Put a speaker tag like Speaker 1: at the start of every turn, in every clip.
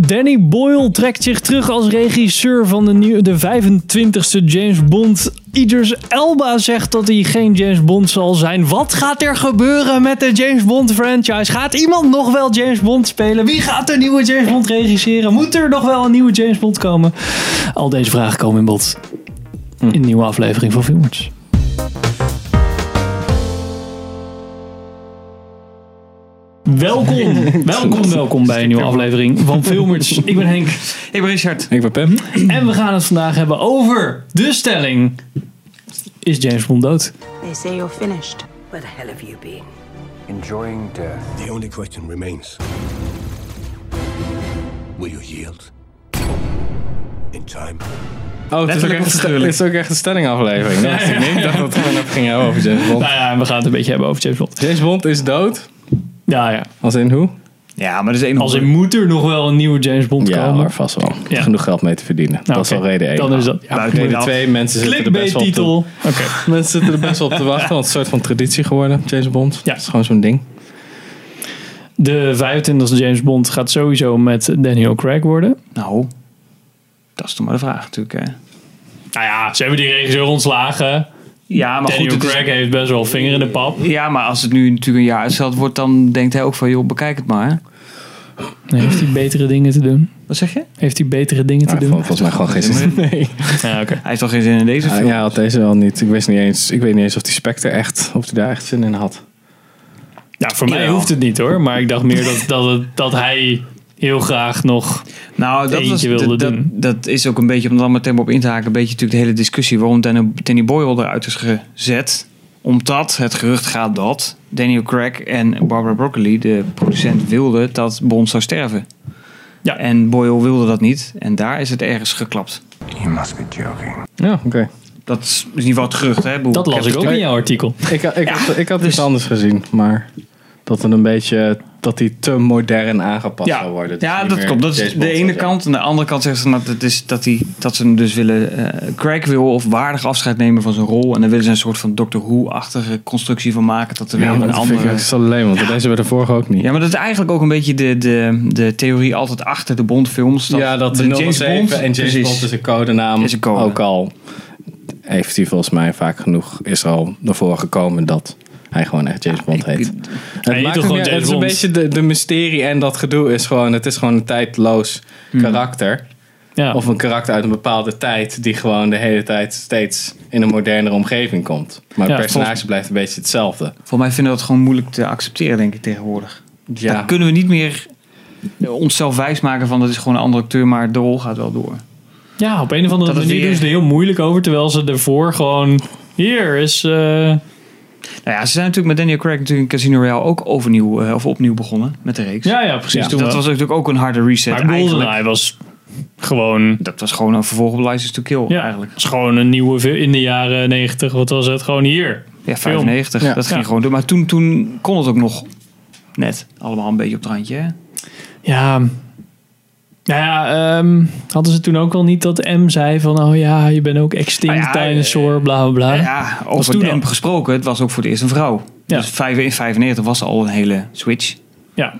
Speaker 1: Danny Boyle trekt zich terug als regisseur van de, nieuwe, de 25e James Bond. Idris Elba zegt dat hij geen James Bond zal zijn. Wat gaat er gebeuren met de James Bond franchise? Gaat iemand nog wel James Bond spelen? Wie gaat de nieuwe James Bond regisseren? Moet er nog wel een nieuwe James Bond komen? Al deze vragen komen in bod in een nieuwe aflevering van Filmers. Welkom, welkom, welkom bij een nieuwe aflevering van Filmers. Ik ben Henk
Speaker 2: Ik ben Richard.
Speaker 3: Ik ben Pem.
Speaker 1: en we gaan het vandaag hebben over de stelling. Is James Bond dood?
Speaker 4: They say you're finished. Where the hell have you been?
Speaker 5: enjoying death.
Speaker 6: The only question remains Will you yield? In time.
Speaker 3: Oh, het is, ook
Speaker 2: Letterlijk of
Speaker 3: echt, een st- het
Speaker 2: figuurlijk?
Speaker 3: is ook echt een stellingaflevering. Dat wist ik niet. Ik dacht dat we het even gingen hebben over James Bond.
Speaker 1: Nou ja, we gaan het een beetje hebben over James Bond.
Speaker 3: James Bond is dood.
Speaker 1: Ja, ja.
Speaker 3: Als in hoe?
Speaker 2: Ja, maar er is één
Speaker 1: Als in moet er nog wel een nieuwe James Bond
Speaker 3: Ja,
Speaker 1: komen.
Speaker 3: maar vast wel.
Speaker 1: Ja.
Speaker 3: Genoeg geld mee te verdienen. dat Nou, is
Speaker 1: oké.
Speaker 3: al reden 1.
Speaker 1: Dan is dat. Ja.
Speaker 2: Buiten
Speaker 3: Reden
Speaker 2: af.
Speaker 3: 2, mensen zitten, er best
Speaker 1: Clickbait
Speaker 3: wel op te,
Speaker 1: titel. Oké.
Speaker 3: mensen zitten er best wel op te wachten. Want het is een soort van traditie geworden, James Bond.
Speaker 1: Ja.
Speaker 3: Dat is gewoon zo'n ding.
Speaker 1: De 25e James Bond gaat sowieso met Daniel Craig worden.
Speaker 2: Nou, dat is toch maar de vraag natuurlijk. Hè?
Speaker 1: Nou ja, ze hebben die regisseur ontslagen.
Speaker 2: Ja, maar
Speaker 1: Daniel
Speaker 2: goed. het is-
Speaker 1: Craig heeft best wel vinger in de pap.
Speaker 2: ja, maar als het nu natuurlijk een jaar uitgesteld wordt, dan denkt hij ook van, joh, bekijk het maar.
Speaker 1: Heeft hij betere dingen te doen?
Speaker 2: Wat zeg je?
Speaker 1: Heeft hij betere dingen te
Speaker 3: Ah, vol-
Speaker 1: doen?
Speaker 3: volgens mij gewoon gisteren. Nee.
Speaker 1: Ja, oké.
Speaker 2: Hij heeft al geen zin in deze film.
Speaker 3: ja, had deze wel niet. Ik, wist niet eens, ik weet niet eens of die Spectre echt, of die daar echt zin in had.
Speaker 1: Ja, voor mij
Speaker 2: Jawel.
Speaker 1: hoeft het niet hoor. Maar ik dacht meer dat, dat, het- dat hij heel graag nog...
Speaker 2: Nou, dat,
Speaker 1: Eentje
Speaker 2: was,
Speaker 1: wilde
Speaker 2: dat, dat,
Speaker 1: doen.
Speaker 2: dat is ook een beetje, om er dan meteen maar op in te haken, een beetje natuurlijk de hele discussie waarom Danny, Danny Boyle eruit is gezet. Omdat het gerucht gaat dat Daniel Craig en Barbara Broccoli, de producent, wilden dat Bond zou sterven.
Speaker 1: Ja.
Speaker 2: En Boyle wilde dat niet. En daar is het ergens geklapt.
Speaker 5: You must be joking.
Speaker 3: Ja, oké.
Speaker 2: Dat is in ieder geval het gerucht, hè? Boel.
Speaker 1: Dat las ik ook in jouw artikel.
Speaker 3: Ik, ik, had, ik had iets
Speaker 2: Dus-
Speaker 3: anders gezien, maar dat het een beetje dat die te modern aangepast
Speaker 2: Ja,
Speaker 3: zou worden. Dus
Speaker 2: ja
Speaker 3: niet
Speaker 2: dat
Speaker 3: meer
Speaker 2: klopt. Dat is
Speaker 3: James
Speaker 2: de
Speaker 3: Bond
Speaker 2: ene
Speaker 3: zou
Speaker 2: kant. En de andere kant zegt ze nou, dat, is dat, die, dat ze hem dus willen... eh Craig wil of waardig afscheid nemen van zijn rol. En daar willen ze een soort van Doctor Who-achtige constructie van maken. Dat er
Speaker 3: zijn.
Speaker 2: weer
Speaker 3: Ja, maar
Speaker 2: een
Speaker 3: dat vind ik
Speaker 2: andere...
Speaker 3: echt zo leem, want deze bij de vorige ook niet.
Speaker 2: Ja, maar dat is eigenlijk ook een beetje de, de, de theorie altijd achter de Bond-films.
Speaker 3: Ja, dat
Speaker 2: de
Speaker 3: James Bond en James
Speaker 2: precies.
Speaker 3: Bond is een codenaam.
Speaker 2: Is een code.
Speaker 3: Ook al heeft hij volgens mij vaak genoeg is er al naar voren gekomen dat hij gewoon echt James Bond heet.
Speaker 2: ik-
Speaker 3: het
Speaker 1: heet toch
Speaker 3: ook
Speaker 1: gewoon James
Speaker 3: niet- het is een
Speaker 1: Bond?
Speaker 3: beetje de, de mysterie en dat gedoe is gewoon, het is gewoon een tijdloos
Speaker 2: Hmm.
Speaker 3: karakter.
Speaker 1: Ja.
Speaker 3: Of een karakter uit een bepaalde tijd die gewoon de hele tijd steeds in een modernere omgeving komt. Maar
Speaker 1: Ja,
Speaker 3: het personage
Speaker 1: volgens-
Speaker 3: blijft een beetje hetzelfde.
Speaker 2: Volgens mij vinden we dat gewoon moeilijk te accepteren, denk ik, tegenwoordig.
Speaker 3: Ja.
Speaker 2: Daar kunnen we niet meer eh, onszelf wijsmaken van dat is gewoon een andere acteur, maar de rol gaat wel door.
Speaker 1: ja, op een of andere
Speaker 2: Dat het
Speaker 1: manier
Speaker 2: weer-
Speaker 1: doen ze er heel moeilijk over. Terwijl ze ervoor gewoon... Hier is... eh,
Speaker 2: Nou ja, ze zijn natuurlijk met Daniel Craig natuurlijk in Casino Royale ook overnieuw eh, of opnieuw begonnen met de reeks.
Speaker 1: ja, ja, precies.
Speaker 3: Ja,
Speaker 1: toen
Speaker 2: dat
Speaker 1: wel.
Speaker 2: was natuurlijk ook een harde reset
Speaker 1: maar
Speaker 2: eigenlijk.
Speaker 1: GoldenEye was gewoon...
Speaker 2: Dat was gewoon een vervolg op License to Kill
Speaker 1: Ja,
Speaker 2: eigenlijk.
Speaker 1: Het is gewoon een nieuwe vi- in de jaren 90. Wat was het? Gewoon hier.
Speaker 2: Ja,
Speaker 1: Film.
Speaker 2: 95.
Speaker 3: Ja.
Speaker 2: Dat ging
Speaker 1: Ja.
Speaker 2: gewoon door. Maar toen, toen kon het ook nog net allemaal een beetje op het randje. Hè?
Speaker 1: Ja. Nou ja, ehm, hadden ze toen ook al niet dat M zei van... Oh ja, je bent ook extinct
Speaker 2: Nou ja,
Speaker 1: dinosaur, bla bla bla.
Speaker 2: Ja, over
Speaker 1: toen
Speaker 2: toen
Speaker 1: al.
Speaker 2: gesproken, het was ook voor het eerst een vrouw.
Speaker 1: Ja.
Speaker 2: Dus vijf- in 95 was al een hele switch.
Speaker 1: Ja.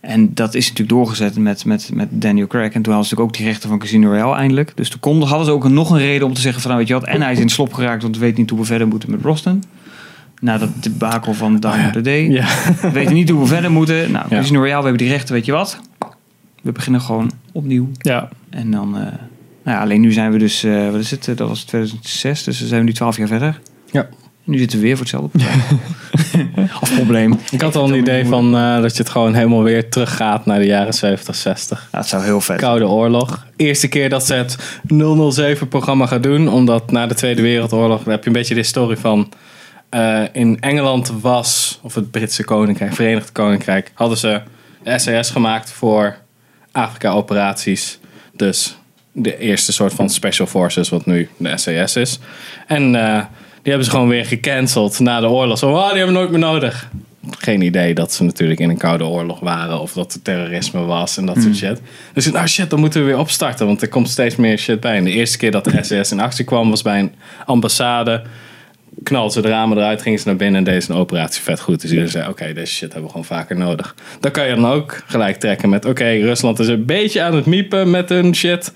Speaker 2: En dat is natuurlijk doorgezet met, met, met Daniel Craig. En toen hadden ze natuurlijk ook die rechten van Casino Royale eindelijk. Dus toen kon, hadden ze ook een- nog een reden om te zeggen van... Nou, weet je wat, en hij is in het slop geraakt, want we weten niet hoe we verder moeten met Brosnan. Na dat debakel van Down of the Day.
Speaker 3: Oh Ja.
Speaker 2: We weten niet hoe we verder moeten. Nou,
Speaker 3: Ja.
Speaker 2: Casino Royale, we hebben die rechten, weet je wat? We beginnen gewoon opnieuw.
Speaker 1: Ja.
Speaker 2: En dan... eh, nou ja, alleen nu zijn we dus... eh, wat is het? Eh, Dat was 2006, dus dan zijn we nu 12 jaar verder.
Speaker 3: Ja.
Speaker 2: Nu zitten we weer voor hetzelfde probleem. of probleem. Nou,
Speaker 3: Ik had al een idee van eh, dat je het gewoon helemaal weer teruggaat naar de jaren 70, 60.
Speaker 2: Ja, het zou heel vet
Speaker 3: Koude oorlog. Eerste keer dat ze het 007-programma gaat doen. Omdat na de Tweede Wereldoorlog daar heb je een beetje de historie van... eh, in Engeland was, of het Britse Koninkrijk, Verenigd Koninkrijk... hadden ze SAS gemaakt voor Afrika-operaties. Dus de eerste soort van Special Forces, wat nu de SAS is. En eh, die hebben ze gewoon weer gecanceld na de oorlog. Zo, "Ah, die hebben we nooit meer nodig. Geen idee dat ze natuurlijk in een koude oorlog waren of dat er terrorisme was en dat soort shit. Dus ik, nou shit, dan moeten we weer opstarten, want er komt steeds meer shit bij. En de eerste keer dat de SAS in actie kwam was bij een ambassade knalden ze de ramen eruit, gingen ze naar binnen en deden ze een operatie vet goed. Dus iedereen zei, oké, deze shit hebben we gewoon vaker nodig. Dan kan je dan ook gelijk trekken met, oké, Rusland is een beetje aan het miepen met hun shit.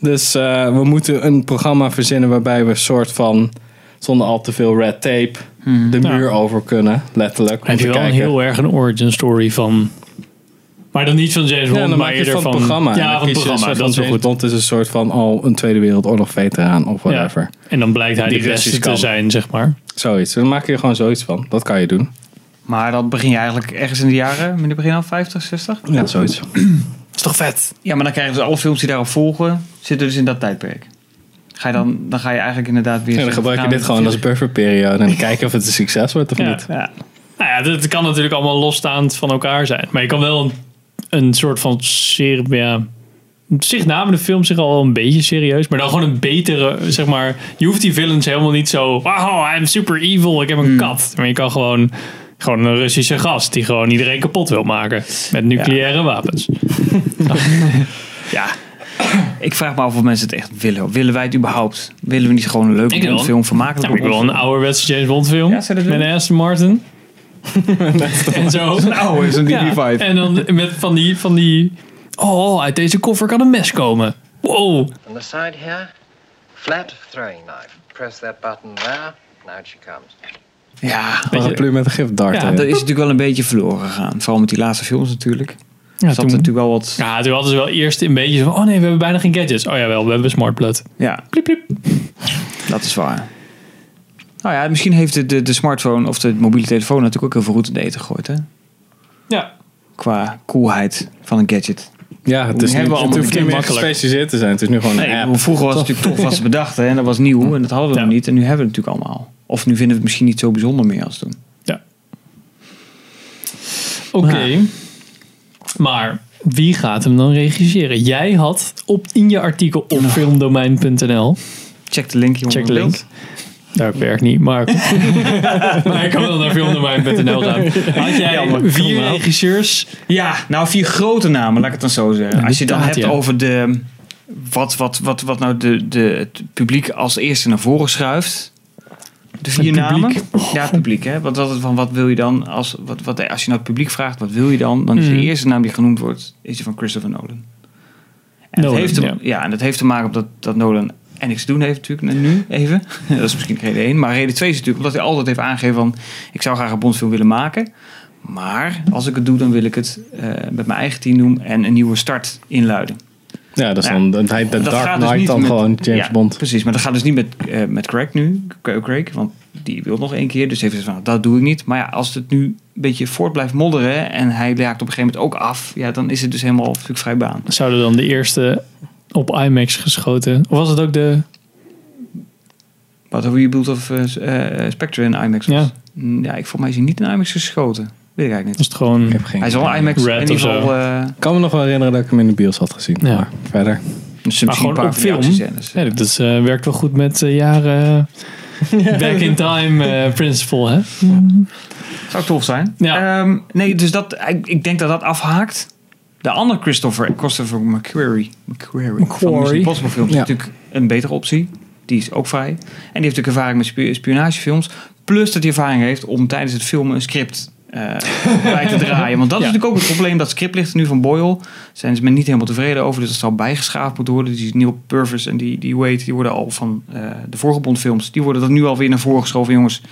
Speaker 3: Dus eh, we moeten een programma verzinnen waarbij we een soort van, zonder al te veel red tape, de muur over kunnen, letterlijk. om
Speaker 1: Hmm. Heb
Speaker 3: te
Speaker 1: je wel een
Speaker 3: kijken.
Speaker 1: heel erg een origin story van... Maar dan niet van James
Speaker 3: Ja,
Speaker 1: Bond,
Speaker 3: dan
Speaker 1: maar
Speaker 3: maak je
Speaker 1: eerder
Speaker 3: van
Speaker 1: van...
Speaker 3: het programma. En
Speaker 1: Ja,
Speaker 3: dan
Speaker 1: van het
Speaker 3: kies je een
Speaker 1: programma,
Speaker 3: soort
Speaker 1: dat
Speaker 3: van
Speaker 1: is wel
Speaker 3: James
Speaker 1: goed.
Speaker 3: Bond is een soort van al een Tweede Wereldoorlog veteraan of whatever.
Speaker 1: Ja. En dan blijkt hij
Speaker 3: Die
Speaker 1: de beste
Speaker 3: versies
Speaker 1: te
Speaker 3: kan.
Speaker 1: zijn, zeg maar.
Speaker 3: Zoiets. Dus Dan maak je er gewoon zoiets van. Dat kan je doen.
Speaker 2: Maar dan begin je eigenlijk ergens in de jaren, met de begin al 50, 60?
Speaker 3: Ja, zoiets.
Speaker 1: is toch vet?
Speaker 2: Ja, maar dan krijgen ze alle films die daarop volgen, zitten dus in dat tijdperk. Ga je dan, dan ga je eigenlijk inderdaad weer...
Speaker 3: En dan gebruik je dit gewoon als bufferperiode. En dan kijken of het een succes wordt of
Speaker 1: Ja.
Speaker 3: niet.
Speaker 2: Ja,
Speaker 1: Nou ja, dat kan natuurlijk allemaal losstaand van elkaar zijn. Maar je kan wel een, een soort van... ser- Ja, op zich namen de films zich al wel een beetje serieus. Maar dan gewoon een betere, zeg maar... Je hoeft die villains helemaal niet zo... Wow, I'm super evil, ik heb een kat. Maar je kan gewoon... Gewoon een Russische gast die gewoon iedereen kapot wil maken. Met nucleaire wapens. ja,
Speaker 2: ik vraag me af of mensen het echt willen. Willen wij het überhaupt? Willen we niet gewoon een
Speaker 1: Ik
Speaker 2: leuke
Speaker 1: wel.
Speaker 2: film van maken?
Speaker 1: Nou, ik wil een ouderwetse James Bond film.
Speaker 2: Ja, zou je dat
Speaker 1: met
Speaker 2: doen?
Speaker 1: Aston Martin. en zo.
Speaker 2: oude, zo'n
Speaker 1: Ja, en dan met van die, van die... Oh, uit deze koffer kan een mes komen. Wow.
Speaker 7: On the side here, flat throwing knife. Press that button there, and out she comes.
Speaker 2: Ja,
Speaker 3: Paraplu met een gifdart.
Speaker 1: Ja,
Speaker 3: Ja,
Speaker 2: dat is natuurlijk wel een beetje verloren gegaan. Vooral met die laatste films natuurlijk.
Speaker 1: Ja,
Speaker 2: Zat
Speaker 1: toen,
Speaker 2: natuurlijk wel wat...
Speaker 1: ja, toen hadden ze wel eerst een beetje van... Oh nee, we hebben bijna geen gadgets. Oh jawel, we hebben smartblood.
Speaker 2: Ja. Dat is waar. Nou ja, misschien heeft de, de, de smartphone of de mobiele telefoon natuurlijk ook heel veel roet in de eten gegooid. Hè?
Speaker 1: Ja.
Speaker 2: Qua coolheid van een gadget.
Speaker 3: ja het, is
Speaker 2: Hebben
Speaker 3: niet,
Speaker 2: we
Speaker 3: het
Speaker 2: allemaal
Speaker 3: hoeft niet meer
Speaker 1: makkelijk.
Speaker 3: gespecialiseerd te zijn. Het is nu gewoon een
Speaker 2: Nee, ik
Speaker 3: app.
Speaker 2: bedoel, vroeger was het natuurlijk toch was het bedacht hè, en dat was nieuw en dat hadden we
Speaker 1: Ja.
Speaker 2: nog niet. En nu hebben we het natuurlijk allemaal. Of nu vinden we het misschien niet zo bijzonder meer als toen.
Speaker 1: Oké. Maar wie gaat hem dan regisseren? Jij had op, in je artikel op filmdomein.nl...
Speaker 2: Check de link hieronder.
Speaker 1: Check de link. Dat werkt niet, maar... maar ik kan wel naar filmdomein.nl gaan. Had jij
Speaker 2: Jammer.
Speaker 1: vier
Speaker 2: Normaal.
Speaker 1: regisseurs?
Speaker 2: Ja, nou vier grote namen, laat ik het dan zo zeggen.
Speaker 1: Ja,
Speaker 2: als je het dan
Speaker 1: inderdaad,
Speaker 2: hebt
Speaker 1: ja.
Speaker 2: over de, wat, wat, wat, wat nou de, de, het publiek als eerste naar voren schuift. De vier
Speaker 1: Het
Speaker 2: namen.
Speaker 1: publiek. Oh.
Speaker 2: Ja, het publiek. Hè? Wat, wat, van wat wil je dan? Als, wat, wat, als je naar het publiek vraagt, wat wil je dan? Dan is de
Speaker 1: Mm.
Speaker 2: eerste naam die genoemd wordt, is die van Christopher Nolan. En
Speaker 1: Nolan,
Speaker 2: dat heeft te,
Speaker 1: ja.
Speaker 2: ja. en dat heeft te maken op dat, dat Nolan en niks te doen heeft natuurlijk nu even. dat is misschien reden één. Maar reden twee is natuurlijk omdat hij altijd heeft aangegeven van... ik zou graag een Bondfilm willen maken. Maar als ik het doe, dan wil ik het eh, met mijn eigen team doen... en een nieuwe start inluiden.
Speaker 3: Ja, dat is
Speaker 2: Ja. dus
Speaker 3: dan dat heet de Dark Knight dan
Speaker 2: met-
Speaker 3: gewoon James
Speaker 2: ja,
Speaker 3: Bond.
Speaker 2: Precies, maar dat gaat dus niet met, eh, met Craig nu. Cra- Craig, want die wil nog één keer. Dus heeft hij van, dat doe ik niet. Maar ja, als het nu een beetje voort blijft modderen... en hij raakt op een gegeven moment ook af... ja, dan is het dus helemaal natuurlijk vrij baan.
Speaker 1: Zouden dan de eerste op IMAX geschoten? Of was het ook de...
Speaker 2: Wat over je beeld of eh, eh, Spectre in IMAX was?
Speaker 1: Ja.
Speaker 2: Mm, ja, ik volgens mij is hij niet in IMAX geschoten. Weet ik eigenlijk niet.
Speaker 1: Was het gewoon...
Speaker 3: Ik heb geen
Speaker 2: Hij is wel
Speaker 3: idee.
Speaker 2: een IMAX
Speaker 1: Red
Speaker 2: in ieder
Speaker 1: of zo.
Speaker 2: geval. eh,
Speaker 3: Ik kan me nog wel herinneren dat ik hem in de bios had gezien.
Speaker 1: Ja.
Speaker 3: Maar verder.
Speaker 2: misschien
Speaker 1: Maar gewoon
Speaker 2: een paar
Speaker 1: op
Speaker 2: van die
Speaker 1: film?
Speaker 2: actiescènes.
Speaker 1: Nee, dat is, eh, werkt wel goed met eh, jaren... Back in time eh, principle, hè?
Speaker 2: Zou tof zijn.
Speaker 1: Ja.
Speaker 2: Ehm, nee, dus dat, ik, ik denk dat dat afhaakt. De andere Christopher, Christopher McQuarrie, McQuarrie, van de Mission Impossible films
Speaker 3: Ja.
Speaker 2: is natuurlijk een betere optie. Die is ook vrij. En die heeft natuurlijk ervaring met spi- spionagefilms. Plus dat hij ervaring heeft om tijdens het filmen een script eh, bij te draaien. Want dat
Speaker 1: Ja.
Speaker 2: is natuurlijk ook het probleem. Dat script ligt er nu van Boyle. Daar zijn ze men niet helemaal tevreden over. Dus dat zal bijgeschaafd moeten worden. Dus die Neil Purvis en die, die Wade, die worden al van eh, de vorige Bondfilms. Die worden dat nu alweer naar voren geschoven. Jongens,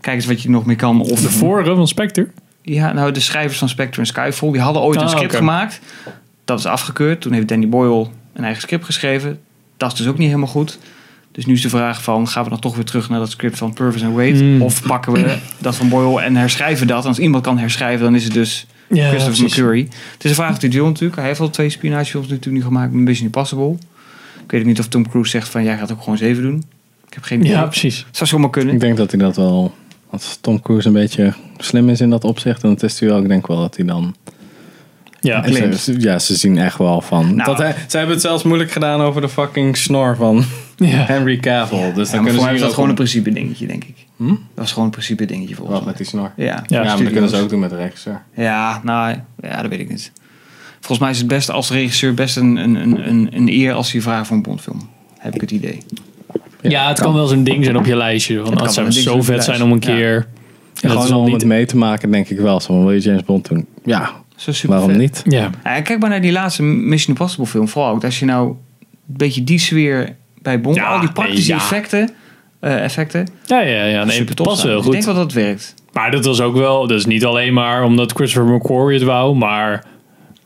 Speaker 2: kijk eens wat je nog meer kan. Of
Speaker 1: De vorige van Spectre.
Speaker 2: ja, nou, de schrijvers van Spectre en Skyfall, die hadden ooit
Speaker 1: Ah,
Speaker 2: een script
Speaker 1: oké.
Speaker 2: gemaakt. Dat is afgekeurd. Toen heeft Danny Boyle een eigen script geschreven. Dat is dus ook niet helemaal goed. Dus nu is de vraag van, gaan we dan toch weer terug naar dat script van Purvis en Wade?
Speaker 1: Mm.
Speaker 2: Of pakken we dat van Boyle en herschrijven dat? En als iemand kan herschrijven, dan is het dus
Speaker 1: Ja,
Speaker 2: Christopher McCurry. Het is een vraag die wil natuurlijk. Hij heeft al twee spionagefilms natuurlijk nu gemaakt met Mission Impossible. Ik weet ook niet of Tom Cruise zegt van, jij gaat ook gewoon zeven doen. Ik heb geen idee.
Speaker 1: Ja, precies.
Speaker 2: Zou zomaar kunnen.
Speaker 3: Ik denk dat hij dat wel... Als Tom Cruise een beetje slim is in dat opzicht. En dat is hij wel. Ik denk wel dat hij dan...
Speaker 1: Ja.
Speaker 3: En ze- ze- ja, ze zien echt wel van...
Speaker 2: Nou.
Speaker 3: dat hij, ze hebben het zelfs moeilijk gedaan over de fucking snor van
Speaker 1: ja.
Speaker 3: Henry Cavill. Dus dan
Speaker 2: Ja, maar
Speaker 3: kunnen ze
Speaker 2: voor mij
Speaker 3: hier
Speaker 2: was dat
Speaker 3: ook
Speaker 2: gewoon
Speaker 3: om-
Speaker 2: een principe dingetje, denk ik.
Speaker 3: Hm?
Speaker 2: Dat was gewoon een principe dingetje volgens
Speaker 3: Wat
Speaker 2: mij.
Speaker 3: met die snor?
Speaker 1: Ja,
Speaker 2: Ja,
Speaker 3: Ja, maar dat
Speaker 2: studios.
Speaker 3: kunnen ze ook doen met de regisseur.
Speaker 2: Ja, nou, ja, dat weet ik niet. Volgens mij is het best als regisseur best een, een, een, een, een eer als hij vraagt voor een Bondfilm. Heb ik het idee.
Speaker 1: Ja, het kan wel zo'n ding zijn op je lijstje. Want dat
Speaker 2: kan
Speaker 1: zou
Speaker 2: wel een ding
Speaker 1: zo
Speaker 2: zijn op
Speaker 1: vet
Speaker 2: je
Speaker 1: zijn om een
Speaker 2: lijst.
Speaker 1: keer. En dat is
Speaker 3: Gewoon
Speaker 1: al
Speaker 3: om
Speaker 1: niet.
Speaker 3: het mee te maken, denk ik wel. Zo, wil je James Bond doen? Ja,
Speaker 2: Zo super
Speaker 3: waarom
Speaker 2: vet.
Speaker 3: niet?
Speaker 1: Ja.
Speaker 2: Nou Ja, kijk maar naar die laatste Mission Impossible film, Fallout. Als je nou een beetje die sfeer bij Bond,
Speaker 1: Ja,
Speaker 2: al die praktische
Speaker 1: nee, ja.
Speaker 2: effecten, eh, effecten
Speaker 1: Ja, ja, ja. Nee,
Speaker 2: super
Speaker 1: het
Speaker 2: tof
Speaker 1: past
Speaker 2: zijn.
Speaker 1: wel
Speaker 2: Dus
Speaker 1: goed.
Speaker 2: Ik denk wel dat het werkt.
Speaker 1: Maar dat was ook wel, dat is niet alleen maar omdat Christopher McQuarrie het wou, maar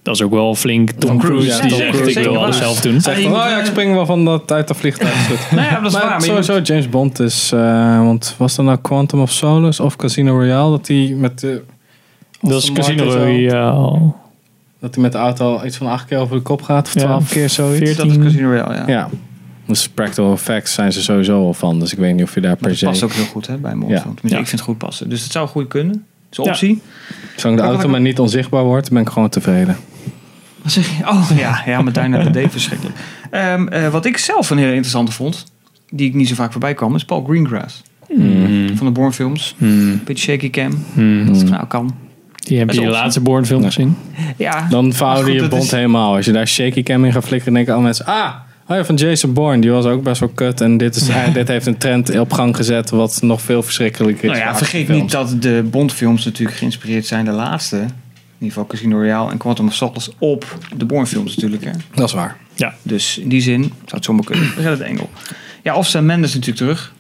Speaker 1: dat is ook wel flink Tom, Cruise
Speaker 3: Cruise, ja,
Speaker 1: die
Speaker 3: Tom
Speaker 1: zegt
Speaker 3: Cruise,
Speaker 1: ik wil
Speaker 2: zeker
Speaker 1: alles
Speaker 2: waar.
Speaker 1: zelf doen.
Speaker 2: Ja,
Speaker 3: Zegt
Speaker 2: je
Speaker 3: van,
Speaker 2: moet
Speaker 3: oh ja,
Speaker 2: wel-
Speaker 3: ik spring wel van dat, uit dat vliegtuig. Shit.
Speaker 2: Nou ja, dat is
Speaker 3: maar
Speaker 2: waar. Maar je
Speaker 3: sowieso, James Bond is, eh, want was dat nou Quantum of Solace of Casino Royale? Dat hij met de...
Speaker 1: Dat is
Speaker 3: Aston Martin
Speaker 1: Casino
Speaker 3: zo-
Speaker 1: Royale.
Speaker 3: Dat hij met de auto iets van acht keer over de kop gaat of
Speaker 1: Ja,
Speaker 3: twaalf keer zoiets.
Speaker 2: moet- dat is Casino Royale, ja.
Speaker 3: Ja. Dus practical effects zijn ze sowieso al van. Dus ik weet niet of je daar
Speaker 2: Maar
Speaker 3: per
Speaker 2: dat past
Speaker 3: se...
Speaker 2: ook heel goed hè, bij Bond.
Speaker 3: Ja.
Speaker 2: want tenminste,
Speaker 1: Ja.
Speaker 2: Ik vind het goed passen. Dus het zou goed kunnen. Het is een
Speaker 1: Ja.
Speaker 2: optie.
Speaker 3: Zolang de auto maar niet onzichtbaar wordt, ben ik gewoon tevreden.
Speaker 2: Wat zeg je? Oh ja, ja maar daarna dat deed verschrikkelijk. Ehm, eh, wat ik zelf een hele interessante vond, die ik niet zo vaak voorbij kwam, is Paul Greengrass.
Speaker 3: Hmm.
Speaker 2: Van de Bourne films. Een beetje shaky cam. Dat is van, nou kan.
Speaker 1: Die heb
Speaker 2: Dat
Speaker 1: je
Speaker 2: is
Speaker 1: de
Speaker 2: awesome.
Speaker 1: laatste Bourne film
Speaker 3: Ja.
Speaker 1: gezien.
Speaker 2: Ja,
Speaker 3: Dan vouwde
Speaker 2: goed,
Speaker 3: je
Speaker 2: dat
Speaker 3: bond
Speaker 2: is-
Speaker 3: helemaal. Als je daar shaky cam in gaat flikkeren, denken alle mensen... Ah, oh ja, van Jason Bourne. Die was ook best wel kut. En dit, is, hij- dit heeft een trend op gang gezet wat nog veel verschrikkelijker is.
Speaker 2: Nou ja,
Speaker 3: voor
Speaker 2: vergeet
Speaker 3: actiefilms.
Speaker 2: niet dat de Bondfilms natuurlijk geïnspireerd zijn, de laatste. In ieder geval Casino Royale en Quantum of Solace op de Bourne-films natuurlijk. Hè?
Speaker 3: Dat is waar.
Speaker 2: Dus in die zin zou het zomaar kunnen. We zetten het engel. Ja, of Sam Mendes natuurlijk terug.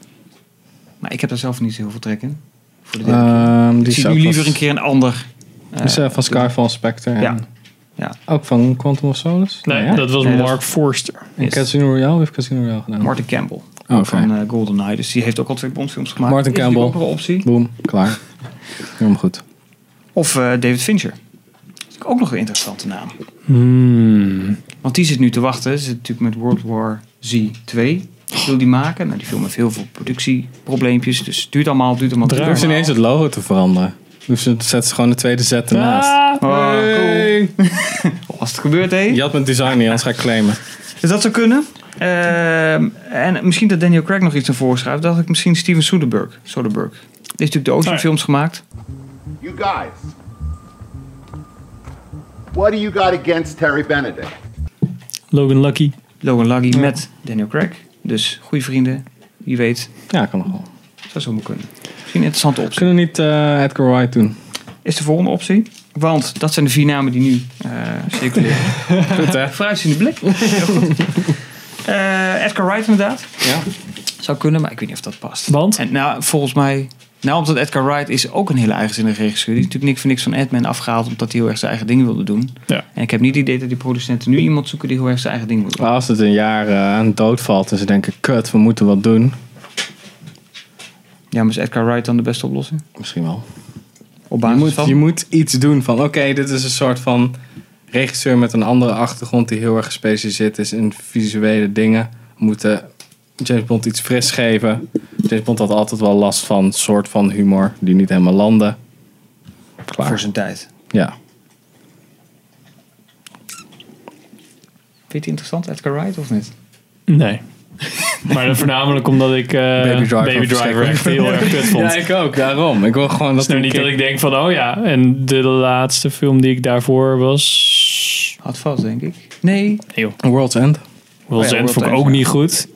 Speaker 2: Maar ik heb daar zelf niet zo heel veel trek in. Voor de derde keer.
Speaker 3: Ehm, die
Speaker 2: Ik zie
Speaker 3: is ook
Speaker 2: nu
Speaker 3: van-
Speaker 2: liever een keer een ander.
Speaker 3: die is, eh, van Skyfall Spectre.
Speaker 2: Ja.
Speaker 3: en
Speaker 2: Ja.
Speaker 3: Ook van Quantum of Solace?
Speaker 1: Nee,
Speaker 3: Nou ja.
Speaker 1: dat was
Speaker 2: Nee, dat-
Speaker 1: Mark Forster.
Speaker 3: En
Speaker 2: Yes.
Speaker 3: Casino Royale heeft Casino Royale gedaan.
Speaker 2: Martin Campbell
Speaker 3: Oké.
Speaker 2: van eh, GoldenEye. Dus die heeft ook al twee Bondfilms gemaakt.
Speaker 3: Martin
Speaker 2: Is natuurlijk
Speaker 3: Campbell.
Speaker 2: ook wel een optie.
Speaker 3: Boom, klaar. Helemaal goed.
Speaker 2: Of eh, David Fincher. Dat is natuurlijk ook nog een interessante naam.
Speaker 3: Hmm.
Speaker 2: Want die zit nu te wachten. Ze zit natuurlijk met World War Z 2. Wil die maken? Nou, die film heeft heel veel productieprobleempjes. Dus het duurt allemaal, het duurt allemaal. het duurt
Speaker 3: Hoeft ze
Speaker 2: allemaal.
Speaker 3: ineens het logo te veranderen. Hoeft ze, zet ze gewoon de tweede zet ernaast.
Speaker 1: Ah,
Speaker 2: Oh, cool.
Speaker 3: Hey.
Speaker 2: Oh, Als het gebeurt, hé.
Speaker 3: Je had mijn design niet, anders ga ik claimen.
Speaker 2: Dus dat zou kunnen. Ehm, en misschien dat Daniel Craig nog iets naar voren schuift. Dat ik misschien Steven Soderbergh. Soderbergh. Die heeft natuurlijk de Ocean
Speaker 1: Oh ja.
Speaker 2: films gemaakt.
Speaker 8: You guys, what do you got against Terry Benedict?
Speaker 1: Logan Lucky.
Speaker 2: Logan Luggy met Daniel Craig. Dus goede vrienden. Wie weet.
Speaker 3: Ja, kan nog wel.
Speaker 2: Zou zomaar kunnen. Misschien een interessante optie.
Speaker 3: Kunnen we niet eh, Edgar Wright doen?
Speaker 2: is de volgende optie. Want dat zijn de vier namen die nu eh, circuleren.
Speaker 3: Goed hè?
Speaker 2: Vooruitziende blik. Heel goed. Eh, Edgar Wright inderdaad.
Speaker 3: Ja.
Speaker 2: Zou kunnen, maar ik weet niet of dat past.
Speaker 1: Want?
Speaker 2: En, nou, volgens mij... Nou, omdat Edgar Wright is ook een hele eigenzinnige regisseur. Die is natuurlijk niks voor niks van Edman afgehaald... omdat hij heel erg zijn eigen ding wilde doen.
Speaker 1: Ja.
Speaker 2: En ik heb niet het idee dat die producenten nu iemand zoeken... die heel erg zijn eigen ding wil doen.
Speaker 3: Maar als het een jaar eh, aan dood valt en ze denken, kut, we moeten wat doen.
Speaker 2: Ja, maar is Edgar Wright dan de beste oplossing?
Speaker 3: Misschien wel.
Speaker 2: Op
Speaker 3: Je
Speaker 2: basis
Speaker 3: moet,
Speaker 2: van?
Speaker 3: je moet iets doen van, oké, dit is een soort van regisseur met een andere achtergrond die heel erg gespecialiseerd is in visuele dingen. We moeten James Bond iets fris geven. James Bond had altijd wel last van soort van humor die niet helemaal landde.
Speaker 2: Voor
Speaker 3: Klaar.
Speaker 2: zijn tijd.
Speaker 3: Ja.
Speaker 2: Vind je het interessant, Edgar Wright, of niet?
Speaker 1: Nee. maar dat voornamelijk omdat ik eh, Baby Driver, echt heel erg kut vond.
Speaker 3: Ja, ik ook. Daarom. Ik wil gewoon dat
Speaker 1: Het is nou
Speaker 3: die
Speaker 1: niet dat
Speaker 3: kick-
Speaker 1: ik denk van, oh ja, en de laatste film die ik daarvoor was...
Speaker 2: Had vast, denk ik. Nee.
Speaker 1: Nee joh,
Speaker 3: World's End.
Speaker 1: World's
Speaker 2: Oh ja,
Speaker 1: End vond ik
Speaker 2: World's
Speaker 1: ook
Speaker 2: End,
Speaker 1: niet goed.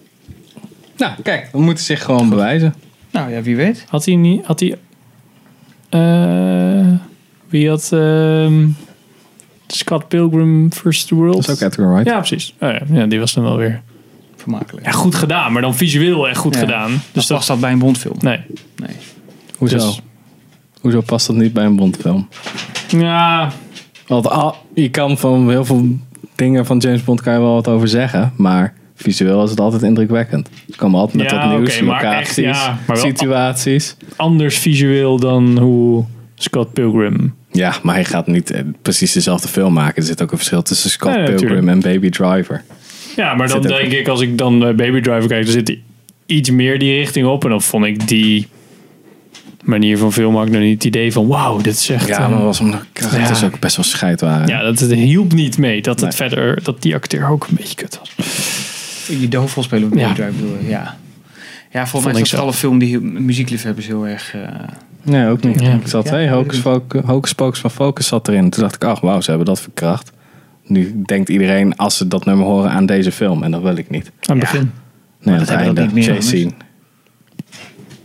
Speaker 3: Nou, kijk. We moeten zich gewoon bewijzen.
Speaker 2: Nou ja, wie weet.
Speaker 1: Had hij niet, had hij... eh, wie had ehm, Scott Pilgrim First World?
Speaker 3: Dat is ook Edgar Wright.
Speaker 1: Ja, precies. Oh ja, ja, die was dan wel weer.
Speaker 2: Vermakelijk.
Speaker 1: Ja, goed gedaan, maar dan visueel echt goed
Speaker 2: Ja.
Speaker 1: gedaan.
Speaker 2: Dus
Speaker 1: Dus
Speaker 2: past
Speaker 1: dat...
Speaker 2: dat bij een Bondfilm?
Speaker 1: Nee.
Speaker 2: Nee.
Speaker 3: Hoezo?
Speaker 1: Dus-
Speaker 3: Hoezo past dat niet bij een Bondfilm?
Speaker 1: Ja,
Speaker 3: Want al- je kan van heel veel dingen van James Bond kan je wel wat over zeggen, maar visueel is het altijd indrukwekkend. Het kan altijd met
Speaker 1: Ja,
Speaker 3: dat nieuws,
Speaker 1: oké, maar
Speaker 3: locaties,
Speaker 1: echt, ja, maar wel-
Speaker 3: situaties.
Speaker 1: anders visueel dan hoe Scott Pilgrim...
Speaker 3: Ja, maar hij gaat niet eh, precies dezelfde film maken. Er zit ook een verschil tussen Scott
Speaker 1: Ja, ja,
Speaker 3: Pilgrim en
Speaker 1: tuurlijk.
Speaker 3: Baby Driver.
Speaker 1: Ja, maar dan
Speaker 3: Zit ook-
Speaker 1: denk ik, als ik dan eh, Baby Driver kijk, dan zit die iets meer die richting op. En dan vond ik die manier van filmen had ik nog niet het idee van, wauw, dit is echt... eh,
Speaker 3: was omdat karakters
Speaker 1: ja.
Speaker 3: ook best wel scheid waren.
Speaker 1: ja, dat het hielp niet mee dat het
Speaker 3: Nee.
Speaker 1: verder, dat die acteur ook een beetje kut was.
Speaker 2: Die doofvol spelen op Baby
Speaker 1: Ja.
Speaker 2: Drive bedoel je? Ja. Ja, volgens mij
Speaker 1: ik
Speaker 2: is dat
Speaker 1: zo.
Speaker 2: voor alle film die heel- muziekliefhebbers heel erg... eh,
Speaker 3: Nee, ook niet.
Speaker 1: Ja.
Speaker 3: Ik zat twee hocus, focus, hocus pocus van Focus zat erin. Toen dacht ik, ach wauw, ze hebben dat verkracht. Nu denkt iedereen als ze dat nummer horen aan deze film. En dat wil ik niet.
Speaker 1: Aan het begin.
Speaker 3: Nee,
Speaker 2: dat
Speaker 3: dat
Speaker 2: hebben
Speaker 3: einde,
Speaker 2: we dat niet meer,
Speaker 3: chase scene.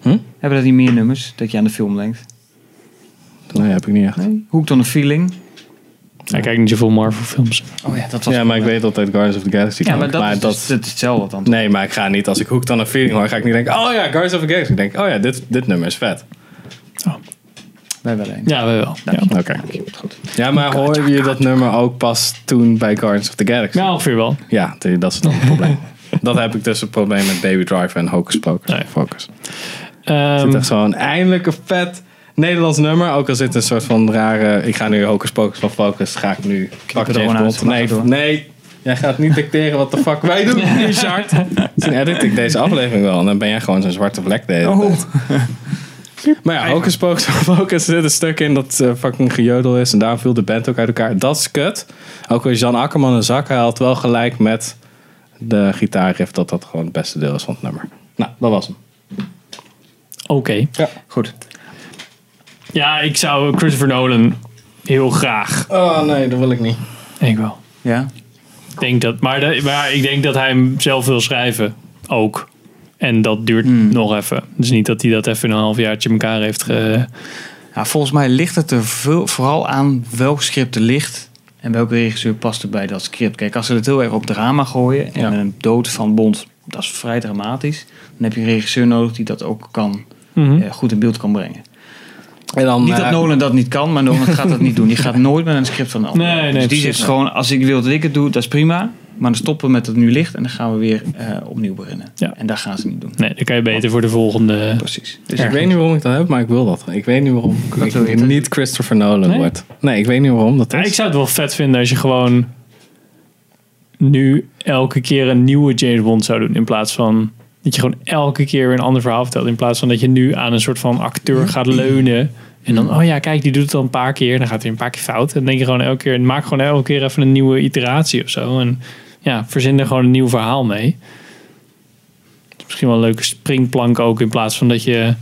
Speaker 2: jongens. Hebben dat niet meer nummers? Dat je aan de film denkt.
Speaker 3: Nee, heb ik niet echt.
Speaker 2: Hoek dan een feeling.
Speaker 1: Hij kijkt niet zoveel Marvel films.
Speaker 2: Oh ja, dat
Speaker 3: Ja, maar ik weet altijd Guardians of the Galaxy.
Speaker 2: Ja,
Speaker 3: kan,
Speaker 2: maar dat, is,
Speaker 3: dat-
Speaker 2: dus- dat is hetzelfde dan.
Speaker 3: Nee, maar ik ga niet. Als ik Hoek dan een feeling hoor, ga ik niet denken... Oh ja, Guardians of the Galaxy. Ik denk, oh ja, dit, dit nummer is vet.
Speaker 2: Wij wel één.
Speaker 1: Oh. Ja, wij wel. Ja.
Speaker 3: Oké. Ja, maar hoorde je dat nummer ook pas toen bij Guardians of the Galaxy?
Speaker 1: ja, ongeveer wel.
Speaker 3: Ja, t- dat is dan het probleem. Dat heb ik dus een probleem met Baby Driver en Hocus Pocus.
Speaker 1: Nee.
Speaker 3: Focus.
Speaker 1: Ehm,
Speaker 3: Het is gewoon eindelijk een vet Nederlands nummer. Ook al zit een soort van rare... Ik ga nu Hocus Pocus van Focus. Ga ik nu... Pak
Speaker 2: er gewoon uit.
Speaker 3: Nee,
Speaker 2: Laat maar
Speaker 3: nee. Jij gaat niet dicteren wat de fuck wij doen, Richard. Toen edit ik deze aflevering wel. En dan ben jij gewoon zo'n zwarte vlek de hele
Speaker 2: Oh.
Speaker 3: tijd. Maar ja, Hocus Pocus van Focus er zit een stuk in dat eh, fucking gejodel is. En daarom viel de band ook uit elkaar. Dat is kut. Ook als Jan Akkerman een zak haalt, wel gelijk met de gitaarriff. Dat dat gewoon het beste deel is van het nummer. Nou, dat was hem.
Speaker 1: Oké.
Speaker 3: Ja, goed.
Speaker 1: Ja, ik zou Christopher Nolan heel graag.
Speaker 3: Oh nee, dat wil ik niet.
Speaker 1: Ik wel.
Speaker 2: Ja?
Speaker 1: Ik Denk dat, maar, de- maar ik denk dat hij hem zelf wil schrijven. Ook. En dat duurt nog even. Dus niet dat hij dat even in een halfjaartje elkaar heeft ge...
Speaker 2: Ja, volgens mij ligt het er veel- vooral aan welk script er ligt en welke regisseur past er bij dat script. Kijk, als ze het heel erg op drama gooien en
Speaker 3: Ja.
Speaker 2: een dood van Bond, dat is vrij dramatisch. Dan heb je een regisseur nodig die dat ook kan, eh, goed in beeld kan brengen.
Speaker 3: En dan,
Speaker 2: Niet dat
Speaker 3: eh,
Speaker 2: Nolan dat niet kan, maar Nolan gaat dat niet doen. Die gaat nooit met een script van een ander.
Speaker 1: Nee, nee,
Speaker 2: dus die
Speaker 1: precies,
Speaker 2: zegt
Speaker 1: nee.
Speaker 2: gewoon, als ik wil dat ik het doe, dat is prima. Maar dan stoppen we met dat nu ligt en dan gaan we weer eh, opnieuw beginnen.
Speaker 1: Ja.
Speaker 2: En dat gaan ze niet doen.
Speaker 1: Nee, dan kan je beter voor de volgende...
Speaker 2: Precies. Dus
Speaker 3: Dus ik weet niet waarom ik dat heb, maar ik wil dat. Ik weet niet waarom ik
Speaker 2: wil je dan?
Speaker 3: niet Christopher Nolan
Speaker 1: Nee?
Speaker 3: word. Nee, ik weet niet waarom dat
Speaker 1: Ja,
Speaker 3: is.
Speaker 1: ik zou het wel vet vinden als je gewoon nu elke keer een nieuwe James Bond zou doen. In plaats van dat je gewoon elke keer weer een ander verhaal vertelt. In plaats van dat je nu aan een soort van acteur gaat leunen. En dan, oh ja, kijk, die doet het al een paar keer. Dan gaat hij een paar keer fout. En dan denk je gewoon elke keer, maak gewoon elke keer even een nieuwe iteratie of zo. En ja, verzin er gewoon een nieuw verhaal mee. Het is misschien wel een leuke springplank ook. In plaats van dat je een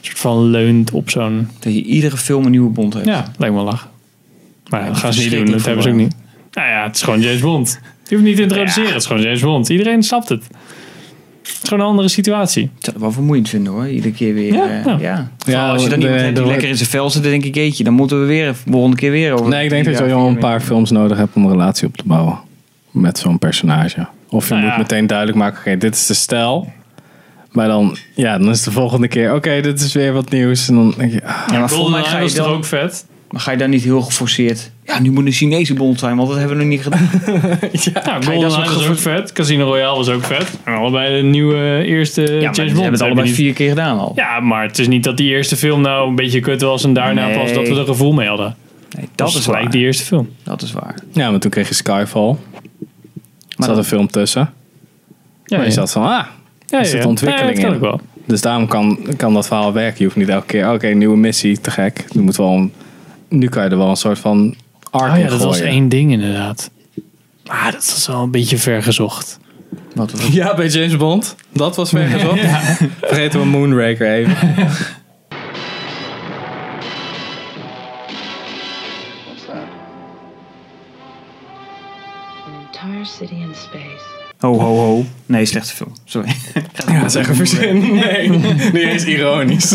Speaker 1: soort van leunt op zo'n...
Speaker 2: dat je iedere film een nieuwe Bond hebt.
Speaker 1: Ja, lijkt me lachen. Maar ja, dat
Speaker 2: me
Speaker 1: gaan ze niet doen,
Speaker 2: verschrikkelijk
Speaker 1: dat hebben ze ook niet. Nou ja, het is gewoon James Bond. Je hoeft niet te introduceren, het is gewoon James Bond. Iedereen snapt het. Het is gewoon een andere situatie.
Speaker 2: Ik zou het wel vermoeiend vinden hoor. Iedere keer weer.
Speaker 1: Ja,
Speaker 2: eh,
Speaker 1: ja.
Speaker 2: ja.
Speaker 3: Ja,
Speaker 2: Vooral als je dan
Speaker 3: de-
Speaker 2: iemand hebt
Speaker 3: de-
Speaker 2: die lekker in zijn vel zit, dan denk ik, jeetje, dan moeten we weer de volgende keer weer over.
Speaker 3: nee, ik denk dat je
Speaker 2: Ja,
Speaker 3: wel een
Speaker 2: weer-
Speaker 3: paar films nodig hebt om een relatie op te bouwen met zo'n personage. Of je
Speaker 1: Nou
Speaker 3: moet
Speaker 1: ja.
Speaker 3: meteen duidelijk maken, oké, dit is de stijl. Maar dan, ja, dan is de volgende keer, oké, dit is weer wat nieuws. En dan denk je, ah,
Speaker 2: Ja, maar volgens mij
Speaker 1: Goldeneye
Speaker 2: ga je,
Speaker 1: was toch ook
Speaker 2: dan,
Speaker 1: vet?
Speaker 2: maar ga je daar niet heel geforceerd. Ja, nu moet een Chinese bond zijn, want dat hebben we nog niet gedaan.
Speaker 1: Nou,
Speaker 2: dat is
Speaker 1: Goldeneye
Speaker 2: ook
Speaker 1: was
Speaker 2: gevo-
Speaker 1: ook vet. Casino Royale was ook vet. En allebei de nieuwe eh, eerste
Speaker 2: Ja, maar
Speaker 1: James
Speaker 2: ze
Speaker 1: Bond.
Speaker 2: hebben het
Speaker 1: Heb je
Speaker 2: allebei
Speaker 1: niet-
Speaker 2: vier keer gedaan al.
Speaker 1: Ja, maar het is niet dat die eerste film nou een beetje kut was en daarna
Speaker 2: Nee.
Speaker 1: pas dat we er gevoel mee hadden.
Speaker 2: Nee, dat,
Speaker 1: was
Speaker 2: is
Speaker 1: gelijk
Speaker 2: waar.
Speaker 1: die eerste film.
Speaker 2: Dat is waar.
Speaker 3: ja, maar toen kreeg je Skyfall. Er
Speaker 2: Maar
Speaker 3: zat
Speaker 2: dan-
Speaker 3: een film tussen.
Speaker 1: Ja,
Speaker 3: Maar je zat van, ah, er zit ontwikkeling
Speaker 1: ja, dat kan
Speaker 3: in.
Speaker 1: ook wel.
Speaker 3: Dus daarom kan, kan dat verhaal werken. Je hoeft niet elke keer, oké, nieuwe missie, te gek. Nu, moet wel een- nu kan je er wel een soort van arc
Speaker 1: Oh ja,
Speaker 3: in
Speaker 1: dat was
Speaker 3: gooien.
Speaker 1: één ding inderdaad. Maar dat is wel een beetje ver gezocht.
Speaker 2: Wat was
Speaker 3: Ja, bij James Bond. Dat was weer gezocht. Vergeten we Moonraker even.
Speaker 4: Entire city in space.
Speaker 2: Ho, ho, ho. Nee, slechte film. Sorry.
Speaker 3: Ja, zeg even zin. Nee, niet eens ironisch.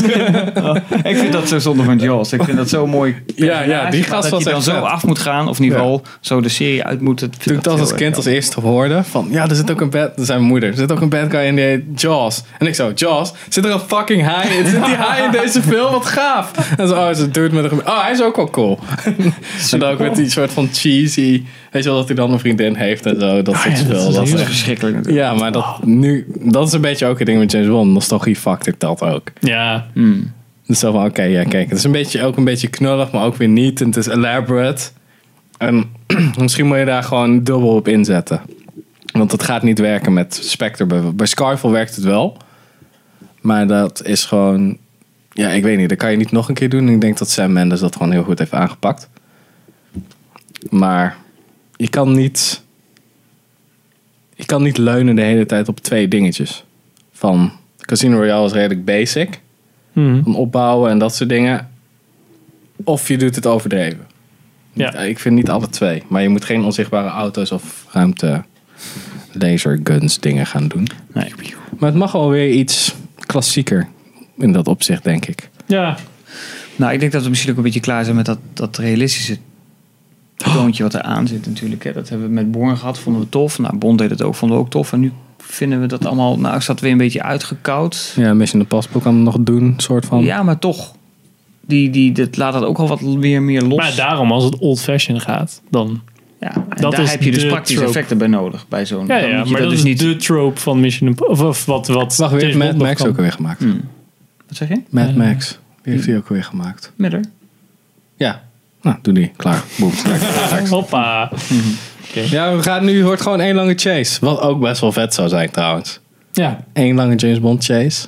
Speaker 2: ik vind dat zo zonde van Jaws. Ik vind dat zo mooi.
Speaker 3: Ja, ja, die
Speaker 2: Maar
Speaker 3: gast
Speaker 2: dat
Speaker 3: was
Speaker 2: hij dan
Speaker 3: echt
Speaker 2: zo
Speaker 3: vet.
Speaker 2: af moet gaan, of in ieder
Speaker 3: Ja.
Speaker 2: geval zo de serie uit moet. Dat,
Speaker 3: Toen ik dat als kind als eerste hoorde, van ja, er zit ook een bad, er zijn moeder, er zit ook een bad guy in die heet Jaws. En ik zo, Jaws, zit er een fucking haai in? Zit die haai in deze film? Wat gaaf! En zo, oh, ze doet met een, oh, hij is ook wel cool. en dan ook met die soort van cheesy, weet je wel, dat hij dan een vriendin heeft en zo, dat soort
Speaker 1: Ah, ja, dat
Speaker 3: spul.
Speaker 1: is
Speaker 3: Dat is
Speaker 1: heel
Speaker 3: echt-
Speaker 2: verschrikkelijk natuurlijk.
Speaker 3: Ja, maar dat, nu, dat is een beetje ook het ding met James Bond. Nostalgie fucked ik dat ook.
Speaker 1: Ja,
Speaker 3: Dus zo van, oké, ja, kijk. Het is een beetje, ook een beetje knullig, maar ook weer niet. En het is elaborate. En misschien moet je daar gewoon dubbel op inzetten. Want het gaat niet werken met Spectre. Bij, bij Skyfall werkt het wel. Maar dat is gewoon... Ja, ik weet niet. Dat kan je niet nog een keer doen. Ik denk dat Sam Mendes dat gewoon heel goed heeft aangepakt. Maar je kan niet... Je kan niet leunen de hele tijd op twee dingetjes. Van Casino Royale is redelijk basic
Speaker 1: Hmm.
Speaker 3: van opbouwen en dat soort dingen. Of je doet het overdreven.
Speaker 1: Ja.
Speaker 3: Niet- Ik vind niet alle twee. Maar je moet geen onzichtbare auto's of ruimte laser guns dingen gaan doen.
Speaker 2: Nee.
Speaker 3: Maar het mag alweer iets klassieker in dat opzicht, denk ik.
Speaker 1: Ja,
Speaker 2: Nou, ik denk dat we misschien ook een beetje klaar zijn met dat, dat realistische toontje wat er aan zit natuurlijk. Hè. Dat hebben we met Born gehad, vonden we tof. Nou, Bond deed het ook, vonden we ook tof. En nu vinden we dat allemaal, nou, ik zat weer een beetje uitgekoud.
Speaker 3: Ja, Mission Impossible kan het nog doen, soort van.
Speaker 2: Ja, maar toch, die, die, dat laat dat ook al wat weer meer los.
Speaker 1: maar daarom als het old fashion gaat, dan...
Speaker 2: ja, en
Speaker 1: dat
Speaker 2: daar
Speaker 1: is
Speaker 2: heb je dus
Speaker 1: de
Speaker 2: praktische
Speaker 1: trope.
Speaker 2: effecten bij nodig, bij zo'n...
Speaker 1: Ja,
Speaker 2: dan
Speaker 1: ja
Speaker 2: moet je
Speaker 1: maar dat,
Speaker 2: dus
Speaker 1: is
Speaker 2: niet...
Speaker 1: de trope van Mission Impossible. Of, of wat, wat
Speaker 3: Wacht, weer
Speaker 1: James
Speaker 3: heeft Mad
Speaker 1: Bond nog
Speaker 3: Max
Speaker 1: kan.
Speaker 3: ook weer gemaakt.
Speaker 2: Wat zeg je?
Speaker 3: Mad Max. Die heeft hij ook weer gemaakt.
Speaker 2: Miller?
Speaker 3: Ja. Nou, doe die. Klaar. Boom. Lekker.
Speaker 1: Hoppa.
Speaker 3: ja, we gaan nu, wordt gewoon één lange chase. Wat ook best wel vet zou zijn trouwens.
Speaker 1: Ja,
Speaker 3: Eén lange James Bond chase.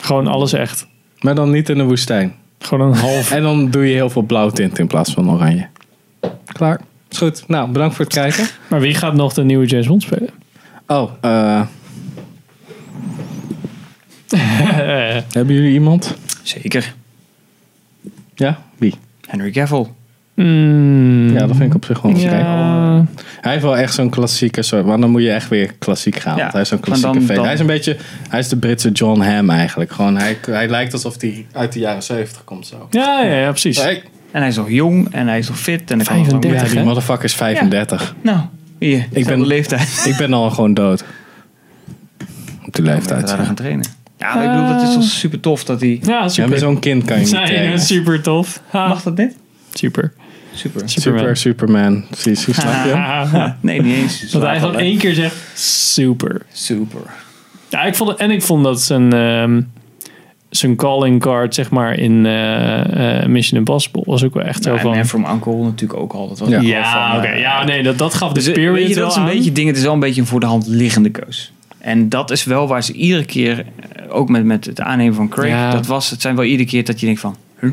Speaker 1: gewoon alles echt.
Speaker 3: Maar dan niet in de woestijn.
Speaker 1: Gewoon een half...
Speaker 3: En dan doe je heel veel blauw tint in plaats van oranje. Klaar. Is goed. Nou, bedankt voor het kijken.
Speaker 1: Maar wie gaat nog de nieuwe James Bond spelen?
Speaker 3: Oh, eh... Hebben jullie iemand?
Speaker 2: Zeker.
Speaker 3: Ja? Wie?
Speaker 2: Henry Cavill. Hmm.
Speaker 3: Ja, dat vind ik op zich wel een
Speaker 1: Ja.
Speaker 3: Hij heeft wel echt zo'n klassieke soort. Maar dan moet je echt weer klassiek gaan.
Speaker 2: Ja,
Speaker 3: Want hij is zo'n
Speaker 2: maar
Speaker 3: klassieke
Speaker 2: dan-
Speaker 3: fan.
Speaker 2: dan-
Speaker 3: Hij is een beetje. Hij is de Britse John Ham eigenlijk. Gewoon, hij, hij lijkt alsof hij uit de jaren 70 komt zo.
Speaker 1: Ja, ja, ja, precies.
Speaker 3: Hey,
Speaker 2: En hij is nog jong en hij is nog fit. En hij kan nog lang
Speaker 1: 35.
Speaker 3: ja, die
Speaker 1: hè?
Speaker 3: motherfucker is 35.
Speaker 2: mee. Nou, hier. Ik ben
Speaker 3: ben-
Speaker 2: de leeftijd.
Speaker 3: Ik ben al gewoon dood. Op die leeftijd.
Speaker 2: Daar
Speaker 3: Ja,
Speaker 2: gaan trainen. Ja, maar ik bedoel, dat is toch super tof dat hij...
Speaker 1: Ja,
Speaker 3: Ja, maar
Speaker 1: super.
Speaker 3: zo'n kind kan je niet
Speaker 1: Ja, ja,
Speaker 3: trainen.
Speaker 1: super tof. Ha,
Speaker 2: Mag dat niet?
Speaker 1: super.
Speaker 2: Super.
Speaker 1: Superman.
Speaker 3: Super, Superman. Precies, snap je? hem?
Speaker 1: Ha, ha.
Speaker 2: Nee, niet eens.
Speaker 1: Dat hij gewoon één keer zegt, super.
Speaker 2: Super.
Speaker 1: Ja, ik vond, het- en ik vond dat zijn, ehm, zijn calling card, zeg maar, in eh, eh, Mission Impossible was ook wel echt zo
Speaker 2: Ja, en
Speaker 1: van...
Speaker 2: Man from Uncle natuurlijk ook al. Dat was
Speaker 3: Ja.
Speaker 2: ook al
Speaker 1: Ja,
Speaker 2: van,
Speaker 1: oké.
Speaker 2: eh,
Speaker 1: Ja, nee, dat, dat gaf de
Speaker 2: Dus
Speaker 1: spirit
Speaker 2: weet je, dat
Speaker 1: wel
Speaker 2: is een
Speaker 1: aan.
Speaker 2: beetje ding. Het is wel een beetje een voor de hand liggende keus. En dat is wel waar ze iedere keer, eh, ook met, met het aannemen van Craig,
Speaker 1: Ja.
Speaker 2: dat was, het zijn wel iedere keer dat je denkt van, huh?